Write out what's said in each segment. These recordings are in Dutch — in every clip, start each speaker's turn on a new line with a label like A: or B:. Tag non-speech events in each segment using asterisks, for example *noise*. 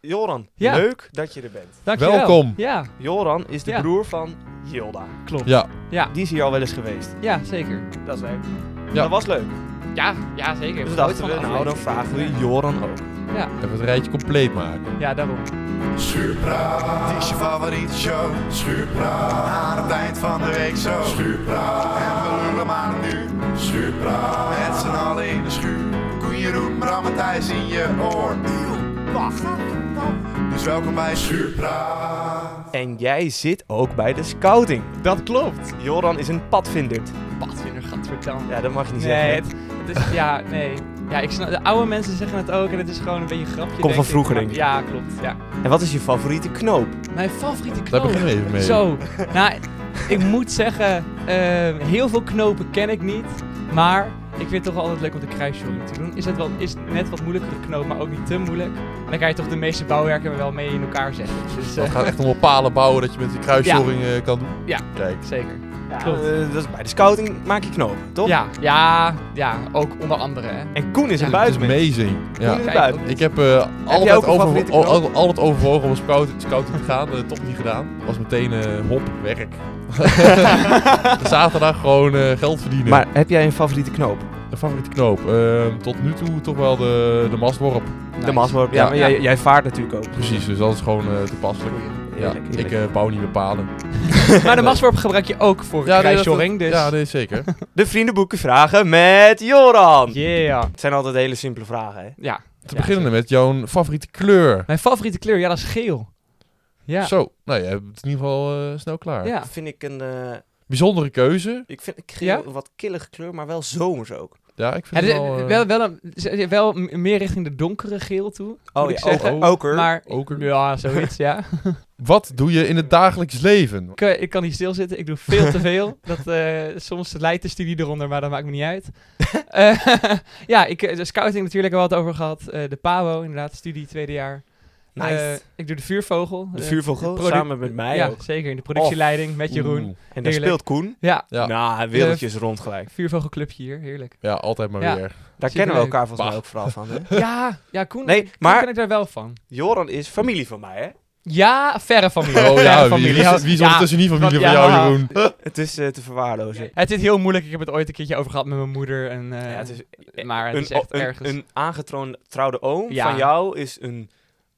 A: Joran,
B: Ja.
A: leuk dat je er bent.
B: Dankjewel.
C: Welkom.
B: Ja,
A: Joran is de
B: Ja.
A: broer van Gilda.
B: klopt.
C: Ja,
A: Die is hier al wel eens geweest.
B: Ja, zeker.
A: Dat is leuk.
C: Ja.
A: Dat was leuk.
D: Ja, ja zeker.
A: Dus
D: Goed
A: dachten
D: van
A: we,
D: de
A: nou dan
D: aflevering.
A: vragen we Joran ook.
C: even het rijtje compleet maken.
B: Ja, daarom.
E: Schuurpraat, het is je favoriete show. Schuurpraat, aan het eind van de week zo. Schuurpraat, en we lullen maar nu. Schuurpraat, met z'n allen in de schuur. Koen Jeroen, Bram en Thijs in je oor. Wacht. Dus welkom bij Schuurpraat.
A: En jij zit ook bij de scouting.
B: Dat klopt.
A: Joran is een padvinder.
B: Padvinder, gadverdamme.
A: Ja, dat mag je niet
B: Nee,
A: zeggen.
B: het, het is... Ja, nee. Ja, ik snap, de oude mensen zeggen het ook en het is gewoon een beetje een grapje.
A: van
B: denk
A: vroeger,
B: maar-
A: denk ik.
B: Ja, klopt. Ja.
A: En wat is je favoriete knoop?
B: Mijn favoriete knoop.
C: Daar beginnen we even mee.
B: Oh. Zo, nou, ik moet zeggen, ehm, heel veel knopen ken ik niet. Maar ik vind het toch wel altijd leuk om de kruisjoring te doen. Is het wel, is het net wat moeilijkere knoop, maar ook niet te moeilijk. En dan kan je toch de meeste bouwwerken er wel mee in elkaar zetten. Dus eh,
C: Het gaat echt om palen bouwen dat je met die kruisjoring eh, kan doen.
B: Ja.
C: Kijk.
B: zeker.
A: Ja,
B: Klopt.
A: eh, dat is bij de scouting maak je knopen, toch?
B: Ja, ja, ja, ook onder andere. Hè.
A: En Koen is
B: Ja,
A: een
C: Dat is
A: buitenmens.
C: amazing. Ja.
A: Koen is een
B: Kijk,
A: buitenmens.
C: Ik heb, eh,
A: jij
C: altijd,
A: ook een
C: over,
A: favoriete
C: al- al-
A: knoop?
C: altijd overwogen om een scouting, scouting te gaan. eh, toch niet gedaan. Was meteen eh, hop, werk. Zaterdag gewoon eh, geld verdienen.
A: Maar heb jij een favoriete knoop?
C: Een favoriete knoop. Ehm, tot nu toe toch wel de, de mastworp.
A: De masworp. Ja,
C: Ja.
A: maar Jij, jij vaart natuurlijk *laughs* ook.
C: Precies, dus dat is gewoon eh, toepasselijk. Ja,
A: Heerlijk,
C: ik
A: heerlijk.
C: eh, bouw niet met palen.
B: Maar de *laughs* masworp gebruik je ook voor
C: Ja, nee, dat-
B: kruisjoring, dus...
C: Ja, nee, zeker.
A: De vriendenboeken vragen met Joran.
B: Yeah.
A: Het zijn altijd hele simpele vragen, hè?
B: Ja.
C: Te
B: Ja,
C: beginnen met jouw favoriete kleur.
B: Mijn favoriete kleur, ja, dat is geel. Ja.
C: Zo, nou ja, het is in ieder geval eh, snel klaar.
B: ja.
A: Vind ik een... eh,
C: Bijzondere keuze.
A: ik vind geel
B: Ja?
A: een wat killige kleur, maar wel zomers ook.
C: Ja, ik
B: Ja,
C: vind
B: dus,
C: het wel...
B: eh, wel,
C: eh,
B: wel, een- wel m- meer richting de donkere geel toe.
A: Oh,
B: moet ik zeggen.
C: ook-
A: oker.
B: Maar
C: ook een-
B: ja, zoiets, ja.
C: Wat doe je in het dagelijks leven?
B: Ik, eh, ik kan niet stilzitten, ik doe veel te veel. *laughs* Dat, eh, soms leidt de studie eronder, maar dat maakt me niet uit. Eh, *laughs* ja, ik, eh, de scouting natuurlijk al wat over gehad. Eh, de PAWO, inderdaad, studie tweede jaar. Eh, ik doe de vuurvogel.
A: de
B: eh,
A: vuurvogel,
B: de produ-
A: samen met mij
B: ja,
A: ook.
B: zeker. In de productieleiding met Jeroen.
C: Oeh.
A: En daar
B: heerlijk.
A: speelt Koen.
B: Ja,
C: Ja.
A: Nou, hij wereldjes rond gelijk.
B: vuurvogelclubje hier, heerlijk.
C: Ja, altijd maar
B: Ja. *laughs*
C: weer.
A: Daar
B: Superleuk.
A: kennen we elkaar volgens mij
C: Bah.
A: ook vooral van, hè?
B: Ja, ja Koen,
A: Nee,
B: Koen
A: maar-
B: ken ik daar wel van.
A: Joran is familie van mij, hè?
B: Ja, verre familie.
C: Oh
B: verre
C: ja, wie,
B: familie.
C: wie, is- wie is
B: Ja,
C: ondertussen niet familie
B: want-
C: van jou,
B: ja.
C: Jeroen?
B: *laughs*
A: Het is eh, te verwaarlozen.
B: Het is heel moeilijk. Ik heb het ooit een keertje over gehad met mijn moeder. En, eh,
A: Ja, het is
B: maar het
A: een,
B: is echt
A: een,
B: ergens.
A: een aangetrouwde oom
B: Ja.
A: van jou is een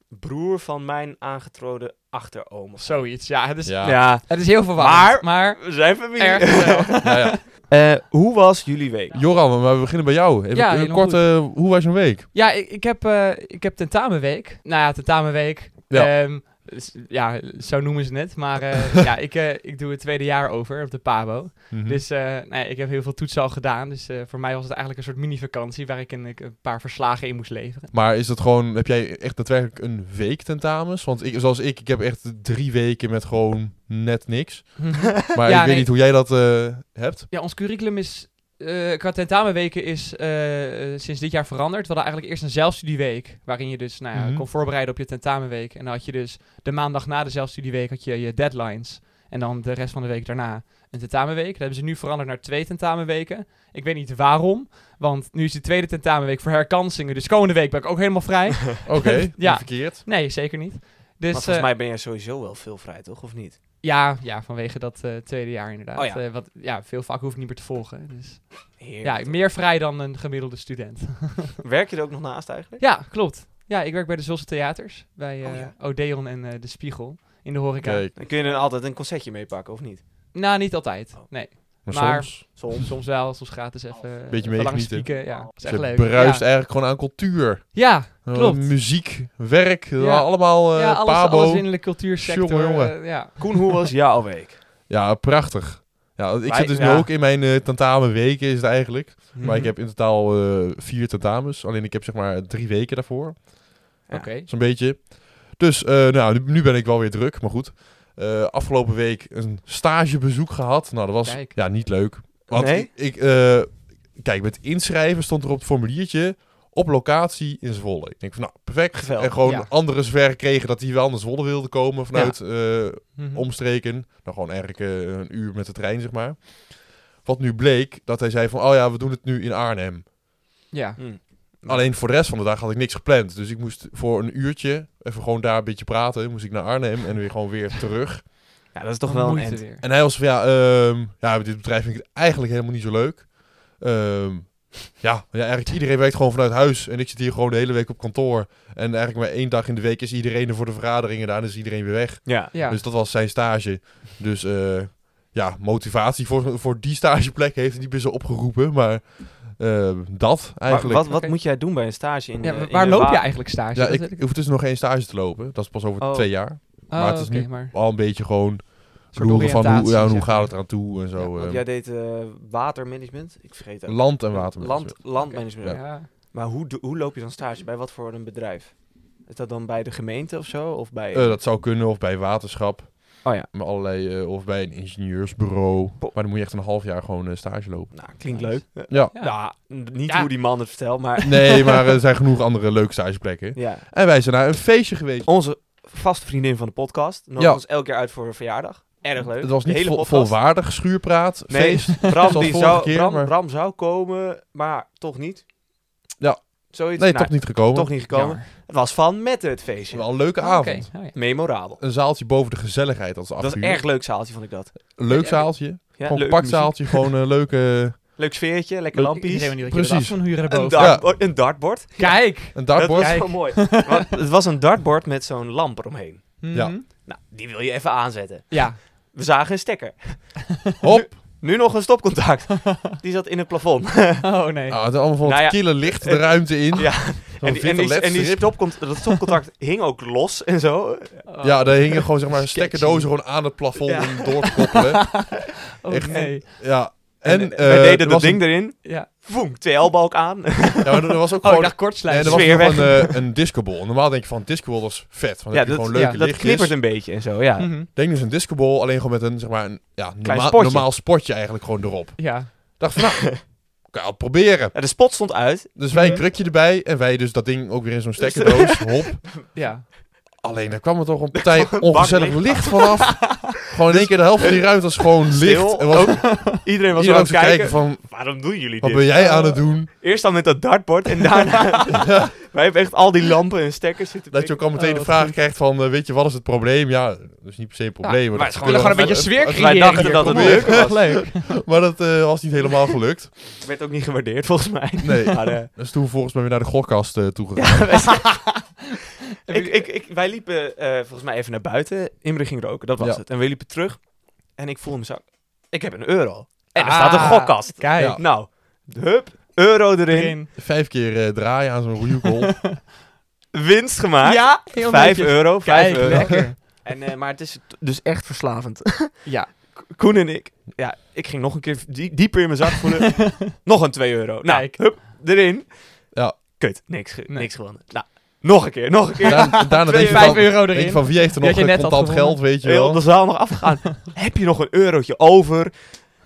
A: broer van mijn aangetrouwde achteroom. of zo.
B: Zoiets, Dus- ja. Het is,
C: Ja.
A: Ja,
B: Het is heel verwarrend. Maar,
A: we zijn familie.
B: ergens wel.
C: Ja, nou ja.
A: *laughs* Eh, hoe was jullie week?
C: Joran, maar we beginnen bij jou. Even
B: Ja,
C: eh,
B: helemaal
C: kort,
B: goed.
C: eh, hoe was je week?
B: ja, ik, ik, heb, eh, ik heb tentamenweek. Nou ja, tentamenweek.
C: Ja.
B: Ehm, s- ja, zo noemen ze het. Maar eh,
A: *laughs*
B: ja, ik, eh, ik doe het tweede jaar over op de PABO.
A: Hm.
C: Mhm.
B: Dus eh, nee, ik heb heel veel toetsen al gedaan. Dus eh, voor mij was het eigenlijk een soort mini-vakantie waar ik een, ik een paar verslagen in moest leveren.
C: Maar is dat gewoon, heb jij echt daadwerkelijk een week tentamens? Want ik, zoals ik, ik heb echt drie weken met gewoon
B: *laughs*
C: net niks.
A: Mhm.
B: Ja,
C: Maar ik weet
B: nee.
C: niet hoe jij dat eh, hebt.
B: Ja, ons curriculum is eh, qua tentamenweken is eh, eh, sinds dit jaar veranderd. We hadden eigenlijk eerst een zelfstudieweek, waarin je dus nou ja,
C: Mhm.
B: kon voorbereiden op je tentamenweek. En dan had je dus de maandag na de zelfstudieweek had je je deadlines. En dan de rest van de week daarna een tentamenweek. Dat hebben ze nu veranderd naar twee tentamenweken. Ik weet niet waarom, want nu is de tweede tentamenweek voor herkansingen. Dus komende week ben ik ook helemaal
A: *laughs*
B: vrij.
C: Oké, niet
B: *laughs* Ja.
C: verkeerd.
B: Nee, zeker niet. Dus,
A: maar
B: eh,
A: volgens mij ben jij sowieso wel veel vrij, toch? Of niet?
B: ja, ja, vanwege dat eh, tweede jaar inderdaad.
A: Oh ja.
B: Eh, wat, ja, veel vakken hoef ik niet meer te volgen. Dus,
A: Heerlijk.
B: ja, meer vrij dan een gemiddelde student. *laughs*
A: *laughs* Werk je er ook nog naast eigenlijk?
B: Ja, klopt. Ja, ik werk bij de Zulse Theaters. Bij eh,
A: Oh ja.
B: Odeon en eh, De Spiegel. In de horeca.
C: Kijk,
A: Dan kun je er altijd een concertje mee pakken, of niet?
B: Nou, niet altijd.
A: Oh.
B: Nee.
C: maar,
B: Maar-
C: soms
A: Soms.
B: Soms wel, soms gratis even. eh,
C: Beetje
B: even langs
C: meegenieten.
B: pieken, Ja,
A: Oh.
B: dat is echt
C: ze
B: leuk.
C: bruist
B: ja.
C: eigenlijk gewoon aan cultuur.
B: ja,
C: Eh,
B: Klopt.
C: muziek, werk,
B: Ja.
C: allemaal eh
B: ja, alles,
C: pabo.
B: alles in de cultuursector.
C: Jongen, jongen.
B: eh, ja.
A: Koen, hoe was jouw week?
C: Ja, prachtig. Ja, ik
A: Wij-
C: zit dus
A: ja.
C: nu ook in mijn eh, tentamenweken is het eigenlijk.
B: Mhm.
C: Maar ik heb in totaal eh, vier tentamens. Alleen ik heb zeg maar drie weken daarvoor.
A: Ja.
B: Oké.
C: Zo'n beetje. Dus eh, nou, nu, nu ben ik wel weer druk, maar goed. Eh, afgelopen week een stagebezoek gehad. Nou, dat was
B: Kijk.
C: ja, niet leuk. Want
A: Nee?
C: ik, ik, eh, kijk, met inschrijven stond er op het formuliertje op locatie in Zwolle. Ik denk van nou, perfect.
A: Geweldig,
C: en gewoon
B: ja.
C: andere zwerk kregen dat die wel naar Zwolle wilden komen vanuit eh,
A: Hm.
B: Mhm.
C: omstreken. Nou, gewoon eigenlijk eh, een uur met de trein, zeg maar. Wat nu bleek, dat hij zei van, oh ja, we doen het nu in Arnhem.
B: Ja.
A: Hm.
C: Alleen voor de rest van de dag had ik niks gepland. Dus ik moest voor een uurtje even gewoon daar een beetje praten. Moest ik naar Arnhem en weer gewoon weer terug.
A: Ja, dat is toch wel een
B: Moeite
A: end.
B: weer.
C: En hij was van ja, ehm, ja dit bedrijf vind ik eigenlijk helemaal niet zo leuk. Ehm, ja, ja, eigenlijk iedereen werkt gewoon vanuit huis. En ik zit hier gewoon de hele week op kantoor. En eigenlijk maar één dag in de week is iedereen er voor de vergaderingen. Daarna is iedereen weer weg.
A: Ja.
B: Ja.
C: Dus dat was zijn stage. Dus eh, ja, motivatie voor, voor die stageplek heeft hij niet meer zo opgeroepen. Maar ehm, dat
A: Maar
C: eigenlijk.
A: wat, wat
B: Oké.
A: moet jij doen bij een stage in
B: Ja,
A: eh,
B: wa-
A: in
B: waar
A: de
B: loop
A: wa-
B: je eigenlijk stage?
C: ja,
B: Dat
C: ik,
B: weet
C: ik hoef dus nog geen stage te lopen. Dat is pas over
A: Oh.
C: twee jaar.
B: Oh,
C: maar het is
B: oké,
C: nu
B: maar een
C: Al een beetje gewoon
B: soort
C: roeren van hoe,
B: oriëntatie,
C: ja, hoe
B: zeg
C: gaat
B: maar.
C: het eraan toe en zo.
B: Ja,
A: Want
C: eh,
A: jij deed eh, watermanagement. Ik vergeet het.
C: land en water.
A: Land, landmanagement.
B: Ja.
A: Maar hoe, do- hoe loop je dan stage? Bij wat voor een bedrijf? Is dat dan bij de gemeente of zo? Of bij...
C: Eh, dat zou kunnen, of bij waterschap.
A: Oh ja.
C: Maar allerlei, eh, of bij een ingenieursbureau.
A: Bo-
C: Maar dan moet je echt een half jaar gewoon eh, stage lopen.
A: nou, klinkt
B: Nice.
A: leuk.
C: Ja.
B: Ja.
A: Ja, n- niet
B: Ja.
A: hoe die man het vertelt,
B: *laughs*
A: maar...
C: Nee, *laughs* maar eh, er zijn genoeg andere leuke stageplekken.
A: ja. Oh,
C: En wij zijn naar een feestje geweest.
A: Onze vaste vriendin van de podcast. Nodigt
C: Ja.
A: ons elk jaar uit voor een verjaardag. Erg leuk.
C: Het was
A: De
C: niet
A: hele
C: vol-
A: podcast. *laughs*
C: volwaardig schuurpraat,
A: Nee, *laughs*
C: feest.
A: Bram,
C: Zoals
A: die
C: vorige
A: zou,
C: keer,
A: Bram,
C: maar-
A: Bram zou komen, maar toch niet.
C: Ja.
A: Zoiets.
C: Nee,
A: Nou,
C: toch niet gekomen.
A: toch niet gekomen.
B: Jammer.
A: Het was van met het feestje.
C: Wel een leuke
B: Oh, oké.
C: avond.
B: Oh, ja.
A: Memorabel.
C: Een zaaltje boven de gezelligheid, dat is af
A: Dat is een erg leuk zaaltje, vond ik dat.
C: Leuk zaaltje.
A: Ja,
C: gewoon
A: leuk
C: compact
A: muziek.
C: zaaltje, gewoon een leuke... eh,
A: Leuk sfeertje, lekker
C: Leuk-
B: Ik
A: lampjes.
B: weet niet dat je dat
C: Precies.
B: af kan huren
A: Een,
B: daarboven.
C: Ja.
A: dartbo- een dartbord.
B: Kijk!
C: Een
A: Dat
C: dartboard.
A: is
B: Kijk.
A: wel mooi. Want het was een dartbord met zo'n lamp eromheen.
C: Ja.
B: Mhm.
A: Nou, die wil je even aanzetten.
B: Ja. *laughs*
A: We zagen een stekker. *laughs*
C: Hop!
A: Nu nog een
C: *laughs*
A: stopcontact. Die zat in het plafond.
B: Oh nee.
C: Ah, het is allemaal van
A: Nou ja,
C: het kille
A: *laughs*
C: licht de ruimte in.
A: ja.
C: Zo'n
A: En die, en die, en die
C: vitterletstrip.
A: stopcont- dat
C: *laughs*
A: stopcontact hing ook los en zo.
B: Oh.
C: Ja, daar hingen gewoon zeg maar
B: Sketchy.
C: stekkerdozen gewoon aan het plafond
A: Ja.
C: om door te koppelen.
B: Oh
C: echt-
B: nee.
C: Ja.
A: *laughs*
C: En,
A: En,
C: eh
A: wij
C: er
A: deden dat
C: was Oh,
A: ding erin.
B: Ja.
A: Voem, TL-balk aan. *laughs*
C: Een, ja, maar er was ook
B: Oh, ik
C: gewoon...
B: dacht
C: en er
B: kortsluiting.
C: was
A: Sfeer
C: nog een, eh, een discobol. Normaal denk je van, discobol dat is vet. Want dan
A: Ja,
C: heb je
A: dat-
C: gewoon leuke
B: ja,
A: Dat
C: lichtjes.
A: knippert een beetje en zo, ja.
B: Mhm.
C: Denk dus een discobol, alleen gewoon met een, zeg maar, een ja, normaal,
A: spotje.
C: normaal spotje eigenlijk gewoon erop.
B: Ja.
C: dacht van, nou,
A: *laughs*
C: kan je het proberen.
A: Ja, De spot stond uit.
C: Dus wij een krukje erbij en wij dus dat ding ook weer in zo'n
A: *laughs*
C: stekkerdoos. Hop.
B: Ja.
C: Alleen daar kwam er toch een partij
A: kwam een
C: ongezellig
A: bak
C: licht vanaf.
A: *laughs*
C: gewoon in één keer de helft van die ruimte was gewoon licht.
A: Dus Stil.
C: En was
A: Iedereen was
C: iedereen
A: aan
C: ook
A: het
C: te kijken
A: kijken.
C: van,
A: Waarom doen jullie
C: wat
A: dit?
C: ben
B: Oh,
C: jij aan het doen?
A: Eerst dan met dat dartbord
C: *laughs*
A: en daarna... *laughs* Wij hebben echt al die lampen en stekkers zitten
C: Dat je ook al meteen
B: Oh,
C: de
B: wat
C: vraag
B: goed.
C: krijgt van, eh, weet je, wat is het probleem? Ja, dat is niet per se een probleem.
B: Ja,
C: maar
B: maar het
C: dat
B: is gewoon, gewoon een beetje
C: het-
B: sfeer
C: het-
B: creëren.
A: wij dachten
B: hier.
A: dat
B: Kom
A: het
B: op.
A: leuk was.
B: Echt leuk.
C: Maar dat eh, was niet helemaal
B: *laughs*
C: gelukt.
A: pikken. Oh, werd ook niet gewaardeerd volgens
C: *laughs*
A: mij.
C: Nee.
B: Ah,
A: Maar, eh,
C: Dus toen volgens mij weer naar de gokkast eh, toe toegegaan. *laughs*
A: ik, ik, ik, wij liepen eh, volgens mij even naar buiten. Imre ging roken, dat was
C: Ja.
A: het. En we liepen terug. En ik voel in mijn zak. Ik heb een euro. En er
B: Ah,
A: staat een gokkast.
B: Kijk.
C: Ja.
A: Nou, hup, euro erin.
B: Erin.
C: Vijf keer eh, draaien aan zo'n
B: *laughs*
C: roeikool.
A: Winst gemaakt.
B: Ja, heel
A: Vijf
B: netjes.
A: euro, vijf
B: Kijk,
A: euro.
B: lekker. *laughs*
A: En, eh, maar het is t- dus echt verslavend.
B: Ja.
A: Ko- *laughs* Koen en ik. Ja, ik ging nog een keer die- dieper in mijn zak
B: *laughs*
A: voelen. nog een 2 euro. Nou,
B: Kijk.
A: hup, erin.
C: Ja.
A: Kut, niks, ge-
B: Nee.
A: niks gewonnen. Nou, nog een keer, nog een keer.
C: Daar- daarna denk je
B: Vijf
C: van,
B: euro
C: denk je
B: erin.
C: van, wie heeft er
B: Die
C: nog
B: had je
C: eh,
B: net al
C: contant
B: gewonnen.
C: geld, weet je wel?
A: Heel Eh, de zaal nog
B: *laughs*
A: afgegaan. Heb je nog een eurotje over?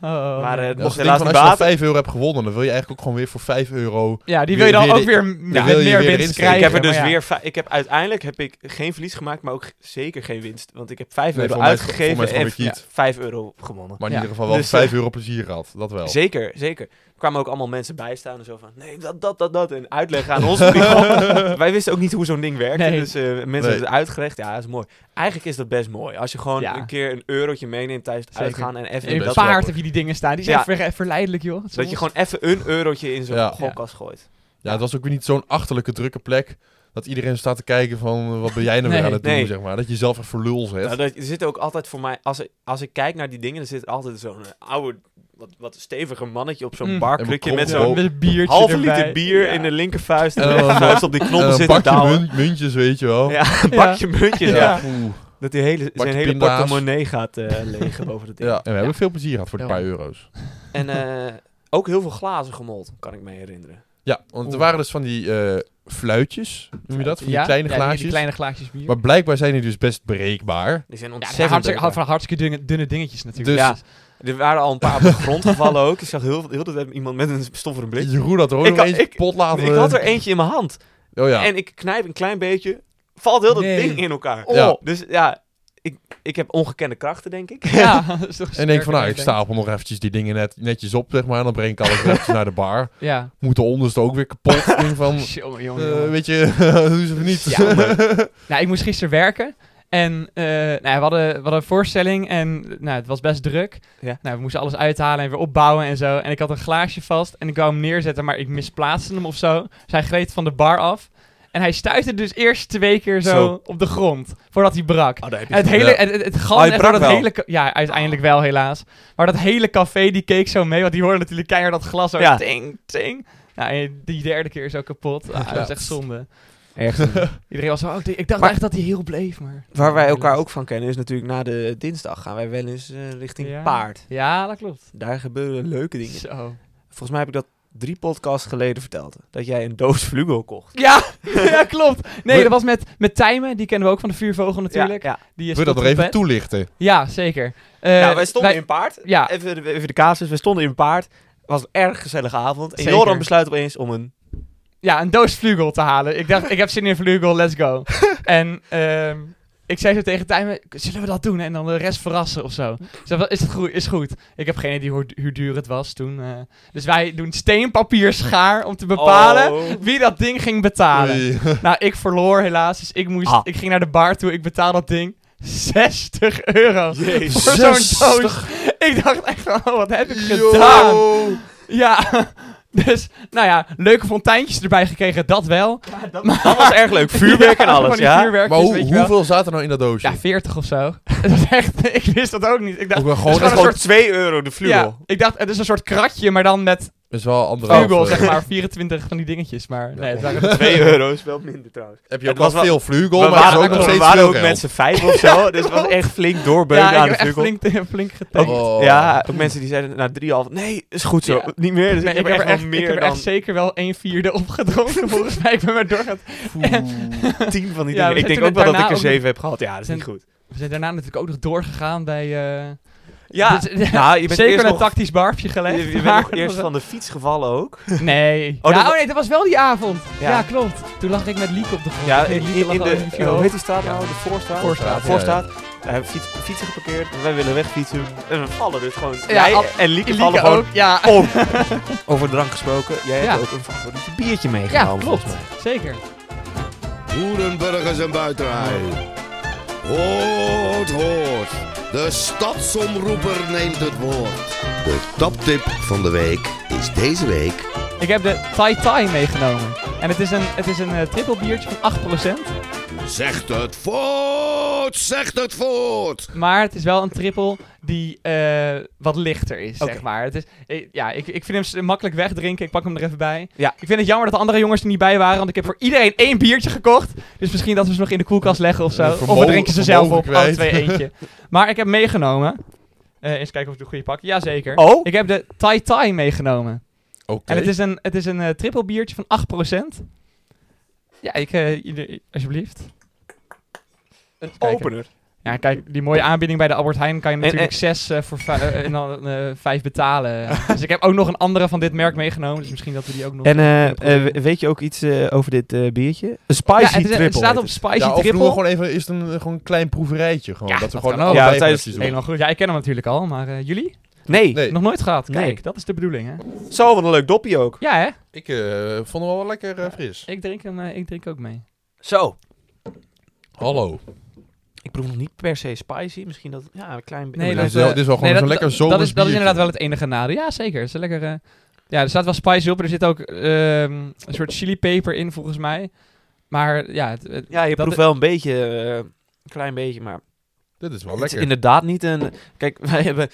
B: Oh.
A: Maar, eh,
C: Ja,
A: nog
C: als je
A: helaas
C: denkt van,
A: niet
C: als je al
A: baten.
C: 5 euro hebt gewonnen, dan wil je eigenlijk ook gewoon weer voor 5 euro...
B: ja, die wil je
C: weer-
B: dan
C: weer
B: ook
C: de-
B: weer
C: dan
B: ja,
C: wil je
B: meer
C: weer
B: winst
C: erin
B: krijgen.
A: ik heb er dus
B: maar ja.
A: weer... vij- Ik heb, uiteindelijk heb ik geen verlies gemaakt, maar ook g- zeker geen winst. Want ik heb 5
C: Nee,
A: euro
C: voor mij is het-
A: uitgegeven
C: voor mij is het gewoon
A: en
C: weer kiet.
A: 5 euro gewonnen.
C: Maar in
B: Ja. eh,
C: ieder geval wel
A: Dus,
C: 5 euro plezier gehad, dat wel.
A: Zeker, zeker. Er kwamen ook allemaal mensen bij staan en zo van... Nee, dat, dat, dat, dat. En uitleggen
C: *laughs*
A: aan ons. *laughs* hoe die kwam. Wij wisten ook niet hoe zo'n ding werkte.
B: Nee.
A: Dus eh, mensen
C: Nee.
A: hebben het uitgelegd. Ja, dat is mooi. Eigenlijk is dat best mooi. Als je gewoon
B: Ja.
A: een keer een eurotje meeneemt tijdens het
B: Zeker.
A: uitgaan. En even
C: Nee,
B: In
A: dat,
C: best
B: paard
C: wel.
B: heb je die dingen staan. Die zijn
A: Ja.
B: ver- verleidelijk, joh.
A: dat je gewoon even een eurotje in zo'n
C: Ja.
A: gokkast gooit.
C: Ja, het was ook weer niet zo'n achterlijke drukke plek... dat iedereen staat te kijken van, eh, wat ben jij nou weer
B: Nee.
C: aan het doen,
A: Nee.
C: zeg maar. Dat je jezelf echt voor lul zet.
A: Nou, dat, er zit ook altijd voor mij... Als, ik- als ik kijk naar die dingen, er zit altijd zo'n eh, oude... Wat, wat steviger mannetje op zo'n
B: Mm.
A: barkrukje
C: En
A: met
C: met
A: zo'n
C: kromhoofd.
B: Met een biertje
A: halve
B: erbij.
A: liter bier
B: Ja.
A: in de linkervuist. En
C: *laughs* En
A: de
C: dan een
A: rechtervuist op die
C: En
A: knoppen
C: een
A: zitten
C: bakje
A: douwen.
C: mun- muntjes, weet je wel.
A: Ja, een bakje muntjes,
B: Ja.
A: ja.
C: Oeh.
A: Dat die hele, zijn hele
C: pinda's.
A: portemonnee gaat
B: *laughs*
A: eh legen boven dat ding.
C: Ja, en we hebben veel plezier gehad voor die
B: Ja.
C: paar euro's.
A: En eh, ook heel veel glazen gemold, kan ik me herinneren.
C: Ja, want er
B: Oeh.
C: waren dus van die eh, fluitjes, noem je dat? Van die
B: Ja,
C: kleine
B: ja,
C: glaasjes.
B: die kleine glaasjes bier.
C: Maar blijkbaar zijn die dus best breekbaar.
A: Die zijn
B: Ja,
A: ontzettend...
B: hartstikke,
A: lekker.
B: van hartstikke dunne, dunne dingetjes natuurlijk.
C: Dus-
B: ja.
C: *laughs*
A: er waren al een paar op de grond gevallen ook. Ik zag heel, heel de tijd iemand met een stofferen blik.
C: Jeroen had er ook
A: Ik
C: nog
A: had-
C: eens
A: ik-
C: pot laten...
A: Ik had er eentje in mijn hand.
C: Oh ja.
A: En ik knijp een klein beetje. Valt heel dat
B: Nee.
A: ding in elkaar.
C: Ja.
A: Dus ja, ik, ik heb ongekende krachten, denk ik.
B: Ja, dat is toch
C: En denk van, nou, ik
B: sterker dan
C: stapel nog eventjes die dingen net, netjes op, zeg maar. En dan breng ik alles *laughs* eventjes naar de bar.
B: denkt. Ja.
C: Moet de onderste ook weer
B: *laughs*
C: kapot. Ik denk van,
B: Jongen, jongen,
C: eh,
B: Oh, jongen.
C: weet je, *laughs* doe ze even niet.
B: Ja,
C: *laughs*
B: Nou, ik moest gisteren werken. En eh, nou, ja, we, hadden, we hadden een voorstelling en nou, het was best druk.
A: Ja.
B: Nou, we moesten alles uithalen en weer opbouwen en zo. En ik had een glaasje vast en ik wou hem neerzetten, maar ik misplaatste hem of zo. Dus hij gleed van de bar af. En hij stuitte dus eerst twee keer zo,
A: Zo.
B: op de grond, voordat hij brak.
A: Oh, daar heb je
B: Het hele,
C: Ja.
B: het, het, het
A: Oh,
B: galm
A: hij
B: echt
A: brak
B: door dat
A: wel.
B: hele... ka- Ja, uiteindelijk wel helaas. Maar dat hele café, die keek zo mee, want die hoorde natuurlijk keihard dat glas zo
A: Ja.
B: ting, ting. Ja, en die derde keer is ook kapot. Ah, Dat is echt zonde.
A: *laughs* Echt.
B: Iedereen was zo, oh, ik ik dacht
A: Maar-
B: echt dat hij heel bleef, maar...
A: Waar wij
B: Ja,
A: elkaar
B: helaas.
A: ook van kennen is natuurlijk na de dinsdag gaan wij wel eens eh, richting
B: Ja.
A: paard.
B: Ja, dat klopt.
A: Daar gebeuren leuke dingen.
B: Zo.
A: Volgens mij heb ik dat drie podcasts geleden verteld. Dat jij een doos Vlugel kocht.
B: Ja, *laughs* ja, klopt. Nee,
A: We-
B: dat was met, met Tijmen, die kennen we ook van de vuurvogel natuurlijk.
A: Ja, ja.
B: Die is
C: Wil je dat
B: tot
C: nog even
B: op bed.
C: toelichten?
B: Ja, zeker. Eh,
A: nou, wij stonden in paard.
B: Ja.
A: Even, de- even de casus. We stonden in paard. Het was een erg gezellige avond. En
B: Zeker.
A: Joran besluit opeens om een...
B: ja, een doos vlugel te halen. Ik dacht, ik heb zin in vlugel, let's
A: *laughs*
B: go. en ehm, ik zei zo tegen Tijmen, zullen we dat doen en dan de rest verrassen of zo? Ze zei, is het goed? Is goed. Ik heb geen idee hoe, hoe duur het was toen. eh. dus wij doen steen, papier, schaar om te bepalen
A: Oh.
B: wie dat ding ging betalen.
C: Oei. *laughs*
B: Nou, ik verloor helaas. Dus ik, moest,
A: Ah.
B: ik ging naar de bar toe. Ik betaalde dat ding. 60 euro.
A: Jezus.
B: Voor zo'n
C: 60.
B: doos. Ik dacht echt van, oh, wat heb ik
C: Yo.
B: gedaan? Ja. *laughs* Dus, nou ja, leuke fonteintjes erbij gekregen, dat wel.
A: Dat, dat was erg leuk. Vuurwerk en
B: van
A: alles,
B: die
A: ja?
B: vuurwerkjes,
C: Maar hoe,
B: weet je wel.
C: hoeveel zaten er nou in dat doosje?
B: Ja, 40 of zo. *laughs* Het was echt, ik wist dat ook niet. Ik dacht,
C: ook wel
A: Dat
C: gewoon,
A: is
C: Oh, dat
A: gewoon
C: is,
A: een soort 2 euro de Vlugel.
B: ja, ik dacht, het is een soort kratje, maar dan met
C: wel anderhalf.
B: vlugel,
C: eh,
B: zeg maar. 24 van die dingetjes, maar nee, het waren...
A: 2
C: *laughs*
A: euro is wel minder trouwens.
C: Heb je
A: Het
C: ook wel
A: was wel-
C: veel vlugel,
A: we
C: maar het is
A: waren
C: ook
A: ook,
C: nog
A: we
C: steeds
A: waren
C: veel
A: ook
C: geld.
A: met z'n vijf of zo.
C: *laughs*
A: dus het was echt flink doorbeuken
B: Ja,
A: aan
B: ik
A: de
B: heb echt
A: Vlugel.
B: flink, flink getankt.
C: Oh.
A: Ja, ook mensen die zeiden na drieënhalf, nee, is goed zo.
B: Ja.
A: Niet meer, dus
B: Nee,
A: ik heb echt wel
B: ik
A: meer
B: heb echt
A: dan
B: zeker wel een vierde *laughs* opgedronken, volgens mij. Ik ben maar doorgaan.
C: Oeh.
A: tien van die dingen.
B: Ja, we
A: Ik
B: zijn
A: denk
B: toen
A: ook wel dat
B: daarna
A: ik er
B: ook nog-
A: zeven heb gehad. Ja, dat is niet goed.
B: We zijn daarna natuurlijk ook nog doorgegaan bij... eh, *laughs*
A: Ja,
B: dit is-
A: nou, je bent
B: zeker
A: eerst
B: een
A: nog,
B: tactisch barfje
A: je,
B: gelegd.
A: je bent
B: maar- *laughs*
A: nog eerst van de fiets gevallen ook.
B: Nee.
A: Oh,
B: ja,
A: dat-
B: oh nee, dat was wel die avond.
A: Ja.
B: Ja, klopt. Toen lag ik met Lieke op de grond.
A: Ja,
B: Ik
A: in,
B: denk, Lieke
A: in,
B: lag
A: in
B: al
A: de,
B: een
A: eh,
B: vuurhoop.
A: hoe heet die straat
B: Ja.
A: nou? De voorstraat?
B: Voorstraat, ja,
A: Voorstraat. Daar hebben we fiets, fietsen geparkeerd. Wij willen wegfietsen. En we vallen dus gewoon.
B: Ja,
A: jij
B: al-
A: en Lieke
B: Lieke
A: vallen gewoon
B: ook, ja.
A: om. *laughs* Over drank gesproken. Jij
B: Ja.
A: hebt ook een favoriete biertje
B: Ja,
A: meegenomen.
B: klopt.
A: volgens mij.
B: Zeker.
E: Boerenburgers en buitenrij. Hoort, hoort. De stadsomroeper neemt het woord. De toptip van de week is deze week...
B: Ik heb de Thai Thai meegenomen. En het is een, het is een eh, triple biertje van 8%.
E: Zegt het voort, zegt het voort.
B: Maar het is wel een triple die eh, wat lichter is,
A: Oké.
B: zeg maar. Het is, eh, ja, ik, ik vind hem s- makkelijk wegdrinken. Ik pak hem er even bij.
A: Ja.
B: Ik vind het jammer dat de andere jongens er niet bij waren. Want ik heb voor iedereen één biertje gekocht. Dus misschien dat we ze nog in de koelkast leggen of zo.
C: Een
B: of
C: vermogen-
B: we drinken ze zelf op.
C: vermogen
B: Alle
C: kwijt.
B: twee eentje. maar ik heb meegenomen. Eh, eens kijken of ik de goede pak. Jazeker.
A: Oh?
B: Ik heb de Tai Tai meegenomen.
C: Oké.
B: En het is een, het is een eh, triple biertje van 8%. Ja, ik, eh, ieder- alsjeblieft. Even kijken.
A: Opener.
B: Ja, kijk, die mooie aanbieding bij de Albert Heijn kan je natuurlijk
A: en-
B: zes eh, voor vij- eh, en dan eh, vijf betalen. *laughs* dus ik heb ook nog een andere van dit merk meegenomen, dus misschien dat we die ook nog...
A: En eh,
B: kunnen proberen.
A: eh, weet je ook iets eh, over dit eh, biertje? Een
B: ja,
A: spicy
B: het, is- het
A: triple.
B: staat op
A: heet
B: spicy
C: Ja, of doen we
B: triple.
C: gewoon even eerst een, gewoon een klein proeverijtje. Gewoon,
B: Ja,
C: dat we
B: dat
C: gewoon
B: kan ook.
C: allebei
A: Ja, tijdens-
C: eventjes doen.
B: Helemaal goed. Ja, ik ken hem natuurlijk al, maar eh, jullie?
A: het. Nee.
C: Nee.
B: Nog nooit gehad. Kijk,
A: Nee.
B: dat is de bedoeling, hè?
A: Zo, wat een leuk dopje ook.
B: Ja, hè?
C: Ik eh, vond hem wel lekker eh, fris.
B: Ik drink hem, eh, ik drink ook mee.
A: Zo.
C: Hallo.
A: Ik proef nog niet per se spicy. Misschien dat, ja, een klein beetje.
B: Nee,
C: Nee,
B: dat- eh,
C: dit, is wel, dit is wel gewoon
B: Nee,
C: zo'n
B: dat-
C: lekker
B: dat,
C: zomers
B: is, dat is
C: biertje.
B: inderdaad wel het enige nadeel. Ja, zeker. Het is een lekker, eh, ja, er staat wel spice op. Er zit ook ehm, een soort chilipeper in, volgens mij. Maar ja, het, het-
A: Ja, je
B: Dat Oh,
A: proeft
B: i-
A: wel een beetje, eh, een klein beetje, maar
C: Dit is wel
A: het is
C: lekker.
A: inderdaad niet een... Kijk, *laughs* wij hebben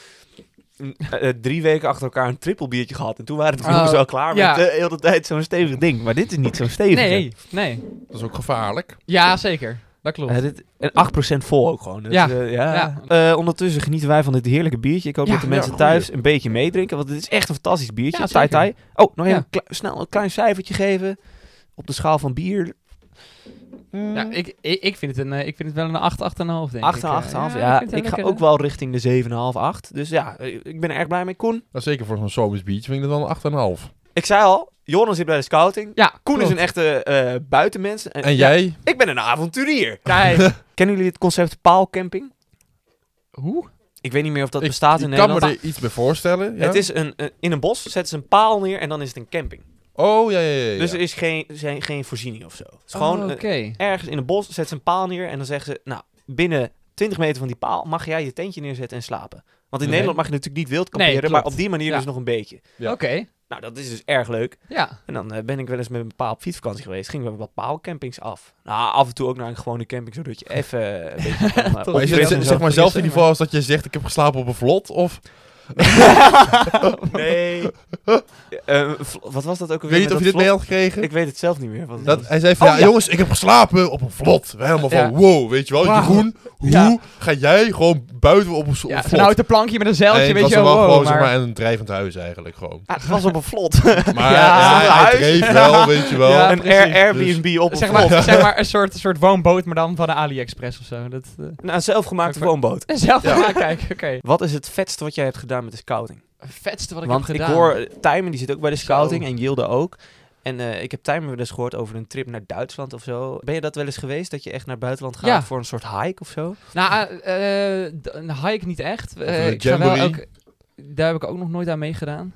A: mm, eh, eh, drie weken achter elkaar een triple biertje gehad en toen waren de
B: Oh,
A: jongens wel klaar
B: ja.
A: met eh, heel de hele tijd zo'n stevig ding. Maar dit is niet zo'n stevig.
B: nee, nee.
C: Dat is ook gevaarlijk.
B: Ja, zeker. Dat klopt.
A: Eh, dit, en 8% vol ook gewoon. Dus,
B: Ja,
A: eh, ja.
B: ja.
A: Eh, ondertussen genieten wij van dit heerlijke biertje. Ik hoop
B: Ja,
A: dat de
C: ja,
A: mensen
C: goeie.
A: thuis een beetje meedrinken, want het is echt een fantastisch biertje.
B: Ja,
A: tai
B: zeker.
A: tai. Oh, nog
B: Ja.
A: even een kle- snel een klein cijfertje geven op de schaal van bier.
B: ja, ik, ik, ik, vind het een, eh, ik vind het wel een 8, 8,5 denk
A: 8,
B: ik. eh.
A: 8, ja.
B: vind het
A: ik ga
B: lekker,
A: ook
B: eh.
A: wel richting de 7,5, 8. Dus ja, eh, ik ben er erg blij mee. Koen,
C: Nou, zeker voor zo'n sobers biertje vind ik dat dan een 8,5.
A: Ik zei al, Joran zit bij de scouting.
B: Ja,
A: Koen
B: klopt.
A: is een echte eh buitenmens. En,
C: En jij?
A: Ik ben een avonturier.
B: Kijk, *laughs*
A: Kennen jullie het concept paalcamping?
B: Hoe?
A: Ik weet niet meer of dat
C: ik,
A: bestaat in
C: ik kan
A: Nederland.
C: me er iets bij voorstellen. Ja?
A: Het is een, een- in een bos zetten ze een paal neer en dan is het een camping.
C: Oh, ja, ja, ja. ja.
A: Dus er is geen, zijn geen voorziening of zo. Het is gewoon
B: Oh,
A: eh,
B: Oké.
A: ergens in een bos zetten ze een paal neer en dan zeggen ze, nou, binnen 20 meter van die paal mag jij je tentje neerzetten en slapen. Want in
C: Nee.
A: Nederland mag je natuurlijk niet wild kamperen,
B: klopt.
A: maar op die manier
B: Ja.
A: dus nog een beetje.
C: Ja.
B: Oké.
A: Nou, dat is dus erg leuk.
B: Ja.
A: En dan eh, ben ik wel eens met een paal op fietsvakantie geweest. Gingen we wat paalcampings af. Nou, af en toe ook naar een gewone camping, zodat je even eh, een
B: *laughs*
A: beetje kan, eh,
B: Toch.
C: maar is
A: opfrissen
C: het
B: Opfrissen
A: en
C: zeg,
A: zo.
C: zeg maar zelf in
B: maar.
C: die geval als dat je zegt ik heb geslapen op een vlot of
A: *laughs* Nee. Eh, vl- wat was dat ook
C: ik
A: alweer?
C: weet niet
A: met dat
C: of je dit mee had gekregen.
A: vlot? Ik weet het zelf niet meer. Wat het was.
B: *laughs*
C: Dat, hij zei van,
B: Oh,
C: ja,
B: ja.
C: jongens, ik heb geslapen op een vlot. Wij helemaal van,
B: Ja.
C: wow, weet je wel,
B: Wauw.
C: Jeroen, hoe
B: Ja.
C: ga jij gewoon buiten op een s- op
B: ja
C: een
B: een
C: vlot?
B: houten plankje met een zeiltje,
C: Nee, het
B: weet
C: was
B: je
C: dan wel
B: wow,
C: gewoon zeg
B: maar-
C: maar een drijvend huis eigenlijk gewoon.
B: *laughs*
A: Ah, het was op een vlot.
C: Maar
B: Ja,
C: ja,
A: een
C: hij
A: huis.
C: dreef wel, weet je wel.
B: Ja,
A: een
B: precies. dus-
A: Air- Airbnb op een
B: Zeg
A: vlot.
B: maar, zeg maar een soort, een soort woonboot, maar dan van de AliExpress of zo. Dat, eh,
A: Nou, een zelfgemaakte woonboot.
B: en *laughs* zelf
C: Ja.
B: ja. kijken, oké.
A: Wat is het vetste wat jij hebt gedaan met de scouting?
B: Vetste wat ik
A: Want
B: heb
A: ik
B: gedaan.
A: hoor, eh, Tijmen die zit ook bij de scouting
B: Zo.
A: en Jilde ook. En eh, ik heb Tijmen wel eens gehoord over een trip naar Duitsland of zo. Ben je dat wel eens geweest? Dat je echt naar het buitenland gaat
B: Ja.
A: voor een soort hike of zo?
B: Nou, eh, eh, d- een hike niet echt. Eh,
C: een
B: ik ga wel
C: jamboree.
B: ook, daar heb ik ook nog nooit aan meegedaan.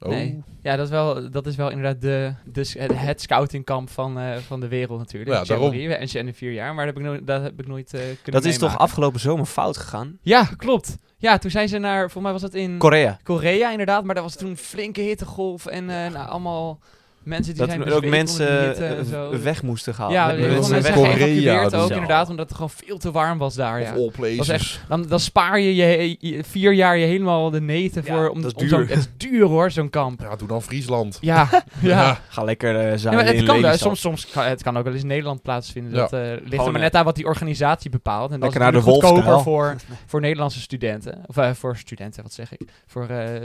C: Oh.
B: Nee. Ja, dat is wel, dat is wel inderdaad de, de, s- het, het scoutingkamp van, eh, van de wereld natuurlijk.
C: Ja, daarom.
B: Jamboree, En ze- en de vier jaar, maar dat heb ik, nooit- dat heb ik nooit eh, kunnen
A: Dat is toch
B: meemaken.
A: afgelopen zomer fout gegaan?
B: Ja, klopt. Ja, toen zijn ze naar, volgens mij was dat in
A: Korea.
B: Korea inderdaad, maar daar was toen flinke hittegolf en eh, nou, allemaal mensen die
A: Dat
B: zijn dus
A: er ook
B: bezweken onder
A: mensen
B: die hitte en
A: eh,
B: zo.
A: weg moesten gaan.
B: Ja,
A: Met
B: heel veel
C: mensen
B: mensen
A: weg-
B: zijn
C: Korea
B: geëvacueerd
C: dus.
B: ook
A: Zo.
B: inderdaad, omdat het gewoon veel te warm was daar.
C: Of
B: Ja.
C: all places.
B: Dat Dan, dan spaar je je, je vier jaar je helemaal de neten
A: Ja,
B: voor. Om,
A: dat is
B: om zo'n-
A: duur.
B: het is duur hoor, zo'n kamp.
C: Ja, doe dan Friesland.
A: *laughs*
B: Ja, ja.
A: Ga lekker eh
B: Ja,
A: zuilen
B: maar het
A: in
B: kan wel.
A: Lelystad.
B: Soms, soms kan, het kan ook wel eens in Nederland plaatsvinden.
C: Ja.
B: Dat eh, ligt er
A: Gewoon,
B: maar
A: eh,
B: net aan wat die organisatie bepaalt. En dat is
A: lekker naar de
B: natuurlijk goedkoper
A: Wolfstijl.
B: voor, voor Nederlandse studenten. Of eh, voor studenten, wat zeg ik. Voor eh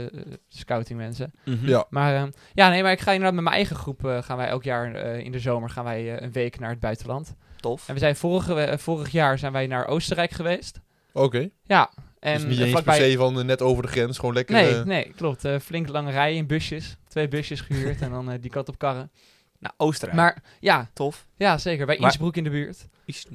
B: scouting mensen.
A: Mhm.
C: Ja.
B: Maar ehm, ja, nee, maar ik ga inderdaad met mijn eigen groep. eh, gaan wij elk jaar eh, in de zomer gaan wij, eh, een week naar het buitenland.
A: Tof.
B: En we zijn vorige, we- eh, vorig jaar zijn wij naar Oostenrijk geweest.
C: Oké.
B: Ja, en
C: Dus niet
B: eh,
C: eens per
B: vlakbij.
C: se van eh, net over de grens, gewoon lekker...
B: nee,
C: eh,
B: nee, klopt. Eh, flink lange rijen in busjes. Twee busjes gehuurd en dan eh, die kant op karren.
A: Nou, Oostenrijk.
B: Maar ja,
A: Tof.
B: ja zeker. Bij
A: Maar-
B: Innsbruck in de buurt.
A: Iets-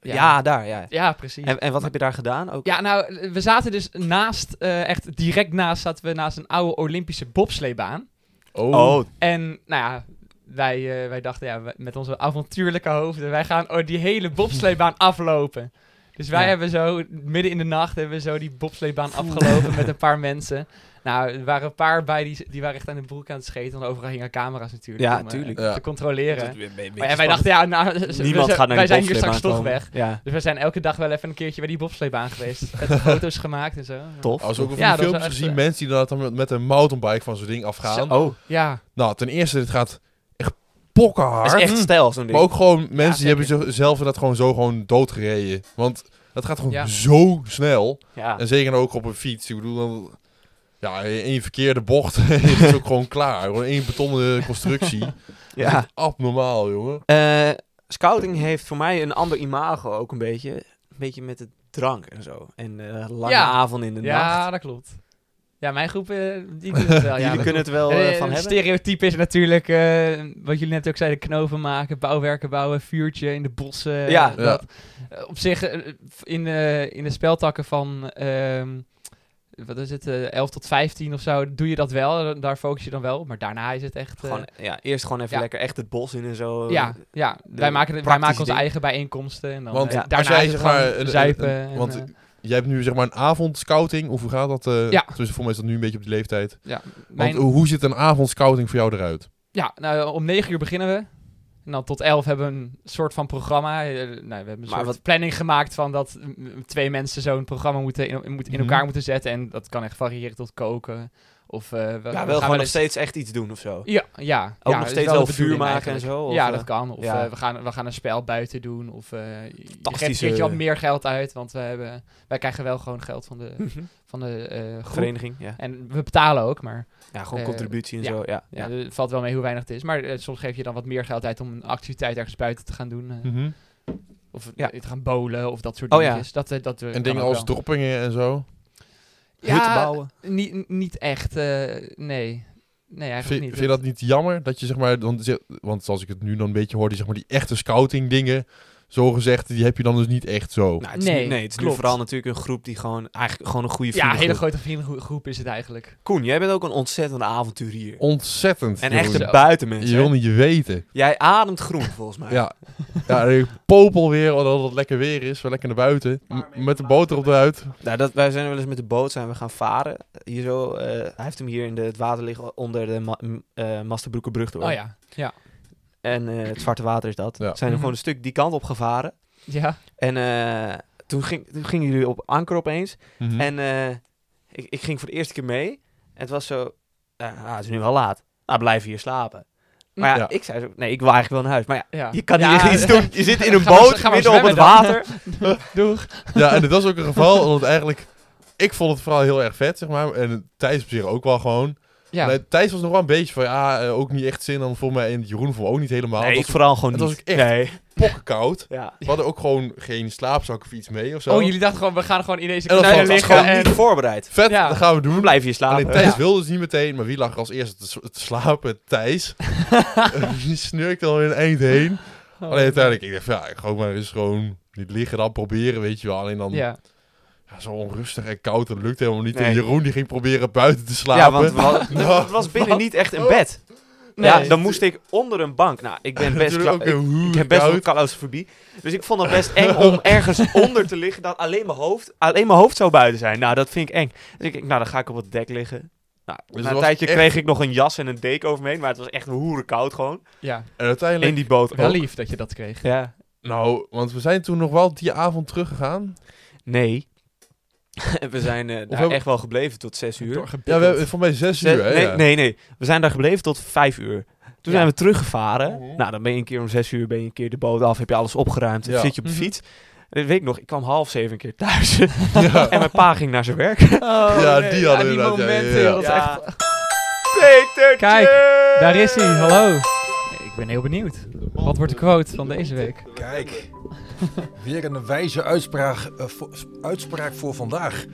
A: Ja,
B: Ja.
A: daar, ja.
B: Ja, precies.
A: En, en wat heb je daar gedaan? Ook
B: Ja, nou, we zaten dus naast, eh, echt direct naast, zaten we naast een oude Olympische bobsleebaan.
C: Oh.
A: Oh,
B: En nou ja, wij, eh, wij dachten ja, we- met onze avontuurlijke hoofden, wij gaan oh, die hele
A: *laughs*
B: bobsleebaan aflopen. Dus wij
A: Ja.
B: hebben zo, midden in de nacht, hebben we zo die bobsleebaan afgelopen met een
A: *laughs*
B: paar mensen. Nou, er waren een paar bij die, die waren echt aan de broek aan het scheten. Want overal hingen camera's natuurlijk
A: Ja,
B: om, eh,
A: tuurlijk.
C: Ja.
B: te controleren. Maar
A: maar
B: ja, wij dachten, ja, nou, we
A: niemand
B: zijn-
A: gaat naar
B: wij
A: die
B: zijn hier
A: bobsleebaan
B: straks toch
A: komen.
B: weg.
A: Ja,
B: Dus we zijn elke dag wel even een keertje bij die bobsleebaan geweest.
A: *laughs*
B: Met foto's gemaakt en zo.
A: tof.
C: Als ook een
B: Ja, dat
C: filmpje
B: was echt,
C: gezien,
B: eh,
C: mensen die dat dan met- met een mountainbike van zo'n ding afgaan.
A: Oh,
B: Ja,
C: Nou, ten eerste, dit gaat echt pokkenhard.
A: dat is echt stijl zo'n ding.
C: Maar ook gewoon mensen die
B: zeker.
C: hebben zichzelf dat gewoon zo gewoon doodgereden. Want dat gaat gewoon
B: Ja.
C: zo snel.
A: ja.
C: En zeker ook op een fiets. Ik bedoel, dan, ja, één verkeerde bocht *laughs* is het ook gewoon klaar. Gewoon één
B: *laughs*
C: betonnen constructie.
A: ja.
C: Abnormaal, jongen.
A: Eh, scouting heeft voor mij een ander imago ook een beetje. Een beetje met het drank en zo. En eh, lange
B: Ja.
A: avond in de
B: ja
A: nacht.
B: dat klopt. Ja, mijn groep, eh,
A: *laughs*
B: die doen het wel. ja,
A: Jullie
B: dat
A: kunnen het wel
B: Eh,
A: eh,
B: een
A: van hebben.
B: stereotype is natuurlijk, eh, wat jullie net ook zeiden, knoven maken, bouwwerken bouwen, vuurtje in de bossen.
A: Ja.
B: dat. Eh, op zich, eh, f- in, eh, in de speltakken van, ehm, wat is het, eh, 11 tot 15 of zo, doe je dat wel. eh, Daar focus je dan wel op. Maar daarna is het echt... eh,
A: Gewoon, ja, eerst gewoon even
B: ja.
A: lekker echt het bos in en zo.
B: ja, ja.
A: de
B: wij maken, wij
A: praktische
B: maken onze
A: dingen.
B: eigen bijeenkomsten. En dan,
C: Want
B: eh,
A: ja,
B: daarna
C: als jij
B: is het
C: zeg maar
B: gewoon
C: een- een-
B: zuipen.
C: een-
B: en,
C: want
B: eh,
C: Jij hebt nu zeg maar een avondscouting. Of hoe gaat dat? eh
B: Ja.
C: Tussen voor mij is dat nu een beetje op die leeftijd.
B: ja,
C: Want
B: mijn-
C: hoe ziet een avondscouting voor jou eruit?
B: Ja, nou, om 9 uur beginnen we. En dan tot 11 hebben we een soort van programma. Eh, nou, we hebben een
A: Maar
B: soort
A: wat-
B: planning gemaakt van dat mm, twee mensen zo'n programma moeten in, in- moeten in
C: Mhm.
B: elkaar moeten zetten. En dat kan echt variëren tot koken. Of eh, we, we
A: Ja,
B: gaan
A: wel gewoon
B: wel
A: nog
B: eens-
A: steeds echt iets doen of zo.
B: Ja, ja.
A: Ook
B: ja,
A: nog
B: is
A: steeds
B: de
A: wel vuur
B: bedoeling
A: maken en
B: eigenlijk.
A: zo. of,
B: ja,
A: eh,
B: dat kan. Of
A: ja.
B: eh, we, gaan, we gaan een spel buiten doen. Of eh je geeft een
A: Fantastische-
B: keertje wat meer geld uit. Want we hebben, wij krijgen wel gewoon geld van de,
A: Mhm.
B: van de eh, groep.
A: Vereniging, ja.
B: En we betalen ook, maar
A: Ja, gewoon
B: Eh,
A: contributie en
B: ja.
A: zo. Ja,
B: ja,
A: ja.
B: Eh, het valt wel mee hoe weinig het is. Maar eh, soms geef je dan wat meer geld uit om een activiteit ergens buiten te gaan doen. eh,
C: Hm.
B: Of
A: Ja.
B: eh, te gaan bowlen of dat soort
A: Oh ja.
B: dingetjes. Dat, eh, dat, eh,
C: En
B: kan
C: dingen
B: ook
C: als
B: wel.
C: droppingen en zo.
A: Hutten
B: Ja,
A: bouwen.
B: niet, niet echt. eh, nee. Nee, eigenlijk
C: Vind,
B: niet. dus.
C: vind je dat niet jammer dat je zeg maar dan zegt- want zoals ik het nu dan een beetje hoorde, zeg maar die echte scouting dingen, zo gezegd, die heb je dan dus niet echt zo.
A: Nou, het is
B: Nee,
A: nu, nee, het is nu
B: klopt.
A: vooral natuurlijk een groep die gewoon eigenlijk gewoon een goede
B: Ja,
A: vrienden.
B: een hele grote vriendengroep is het eigenlijk.
A: Koen, jij bent ook een ontzettende avonturier.
C: Ontzettend.
A: en
C: Jeroen.
A: echt een
B: Zo.
A: buitenmens.
C: Je
A: hè?
C: wil niet je weten.
A: Jij ademt groen volgens mij.
C: Ja. Ja, en ik popel weer, omdat het lekker weer is. We lekker naar buiten. M- met de boter op de huid.
A: Nou, dat, wij zijn wel eens met de boot zijn we gaan varen. Hier zo, eh, hij heeft hem hier in de, het water liggen onder de ma m- eh, Masterbroekenbrug door.
B: Oh ja. Ja.
A: En eh, het Zwarte Water is dat.
C: Ja.
A: Zijn we
B: Mhm.
A: gewoon een stuk die kant op gevaren.
B: Ja.
A: En eh, toen, ging, toen gingen jullie op anker opeens.
C: Mhm.
A: En eh, ik, ik ging voor de eerste keer mee. En het was zo, eh, ah, het is nu wel laat. Nou, blijf hier slapen. Maar ja,
C: Ja.
A: ik zei zo, nee, ik wil eigenlijk wel naar huis. Maar ja,
B: ja.
A: je kan
B: Ja,
A: hier iets doen. Je zit in *laughs* een
B: Gaan we-
A: boot,
B: gaan we
A: midden op het
B: zwemmen dan?
A: water.
B: *laughs* Doeg.
C: Ja, en dit was ook een geval, omdat eigenlijk... Ik vond het vooral heel erg vet, zeg maar. En Thijs op zich ook wel gewoon.
B: Ja.
C: Maar Thijs was nog wel een beetje van, ja, eh, ook niet echt zin aan voor mij. En Jeroen vond me ook niet helemaal.
A: Nee,
C: het
A: ik
C: was
A: vooral gewoon
C: het
A: niet.
C: was ook echt-
A: Nee.
C: pokkenkoud.
A: Ja.
C: We hadden ook gewoon geen slaapzak of iets mee of zo.
B: Oh, jullie dachten gewoon, we gaan gewoon in deze
C: En dat
B: knallen
A: was
C: valt-
B: liggen.
A: gewoon
B: En...
A: eh, niet voorbereid.
C: Vet,
B: Ja.
C: dat gaan we doen.
A: Blijf hier slapen.
C: Alleen Thijs
B: Ja.
C: wilde dus niet meteen, maar wie lag er als eerste te, s- te slapen? Thijs.
A: *laughs*
C: *laughs* die snurkte al in een eind heen.
B: Oh.
C: Alleen uiteindelijk, ik dacht, van, ja, ik ga ook maar eens gewoon niet liggen dan proberen, weet je wel. Alleen dan
B: Ja.
C: ja, zo onrustig en koud, dat lukt helemaal niet. En
A: Nee.
C: Jeroen die ging proberen buiten te slapen.
A: Ja, want we hadden-
C: *laughs* Nou,
A: het was binnen niet echt een bed.
B: Nee.
A: Ja, dan moest ik onder een bank. Nou,
C: *laughs*
A: ik ben best
C: natuurlijk
A: kla-
C: ook
A: ik,
C: heel
A: ik heb best wel
C: koud.
A: claustrofobie. Dus ik vond het best eng *laughs* om ergens onder te liggen dat alleen mijn hoofd, alleen mijn hoofd zou buiten zijn. Nou, dat vind ik eng. Dus ik, ik- nou, dan ga ik op het dek liggen. Nou,
C: het
A: na een
C: was
A: tijdje
C: echt-
A: kreeg ik nog een jas en een deken over me heen, maar het was echt hoeren koud gewoon.
B: ja.
C: En uiteindelijk,
A: In die boot
B: Wel
A: ook.
B: lief dat je dat kreeg.
A: Ja.
C: nou, want we zijn toen nog wel die avond teruggegaan.
A: Nee. *laughs* We zijn eh, daar
C: hebben-
A: echt wel gebleven tot zes uur.
C: Ja, we hebben voor mij zes uur, hè?
A: nee,
C: ja.
A: nee, nee. We zijn daar gebleven tot vijf uur. Toen
B: Ja.
A: zijn we teruggevaren.
C: Mhm.
A: Nou, dan ben je een keer om zes uur ben je een keer de boot af. Heb je alles opgeruimd. Dan
C: Ja.
A: zit je op de
B: Mhm.
A: fiets. En dat weet ik nog, ik kwam half zeven een keer thuis.
C: Ja.
A: *laughs* en mijn pa ging naar zijn werk.
B: Oh,
C: Ja, nee. die Ja, hadden die inderdaad, ja, momenten, ja, ja. joh,
B: Dat
C: dat
B: is
C: is
A: Ja.
B: echt...
A: Petertje!
B: Kijk, Daar is hij, hallo. Ik ben heel benieuwd. Wat wordt de quote van deze week?
D: Kijk, *laughs* weer een wijze uitspraak, eh, voor, uitspraak voor vandaag.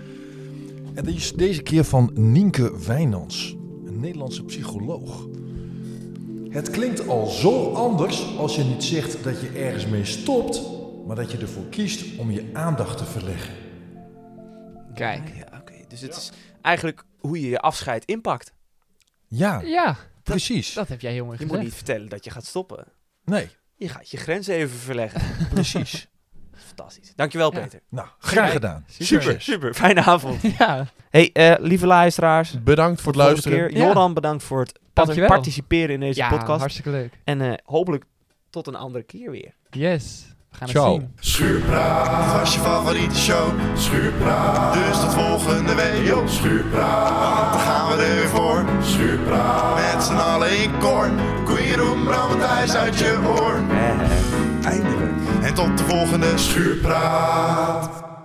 D: En die is deze keer van Nienke Wijnands, een Nederlandse psycholoog. Het klinkt al zo anders als je niet zegt dat je ergens mee stopt, maar dat je ervoor kiest om je aandacht te verleggen.
B: Kijk.
A: Ja, oké. Dus het is eigenlijk hoe je je afscheid inpakt.
D: Ja,
B: Ja,
D: precies.
B: dat heb jij heel mooi
A: Je moet
B: gezegd.
A: niet vertellen dat je gaat stoppen.
D: Nee,
A: Je gaat je grenzen even verleggen.
D: precies.
A: Fantastisch. Dankjewel,
B: Ja.
A: Peter.
D: Nou, graag gedaan.
A: Super, super. Fijne avond.
B: *laughs* Ja,
A: hey, eh, lieve luisteraars.
C: Bedankt voor het luisteren.
A: Keer.
B: Ja.
A: Joran, bedankt voor het
B: Dankjewel.
A: participeren in deze
B: ja
A: podcast.
B: hartstikke leuk.
A: En eh, hopelijk tot een andere keer weer.
B: Yes, we gaan
C: Ciao.
B: het zien.
E: Schuurpraat was je favoriete show. Schuurpraat, dus tot volgende week. Yo, schuurpraat, want dan gaan we er weer voor. Schuurpraat, met z'n allen in koor. Koen Jeroen, Bram en Thijs uit je oor. Eindelijk. En tot de volgende Schuurpraat.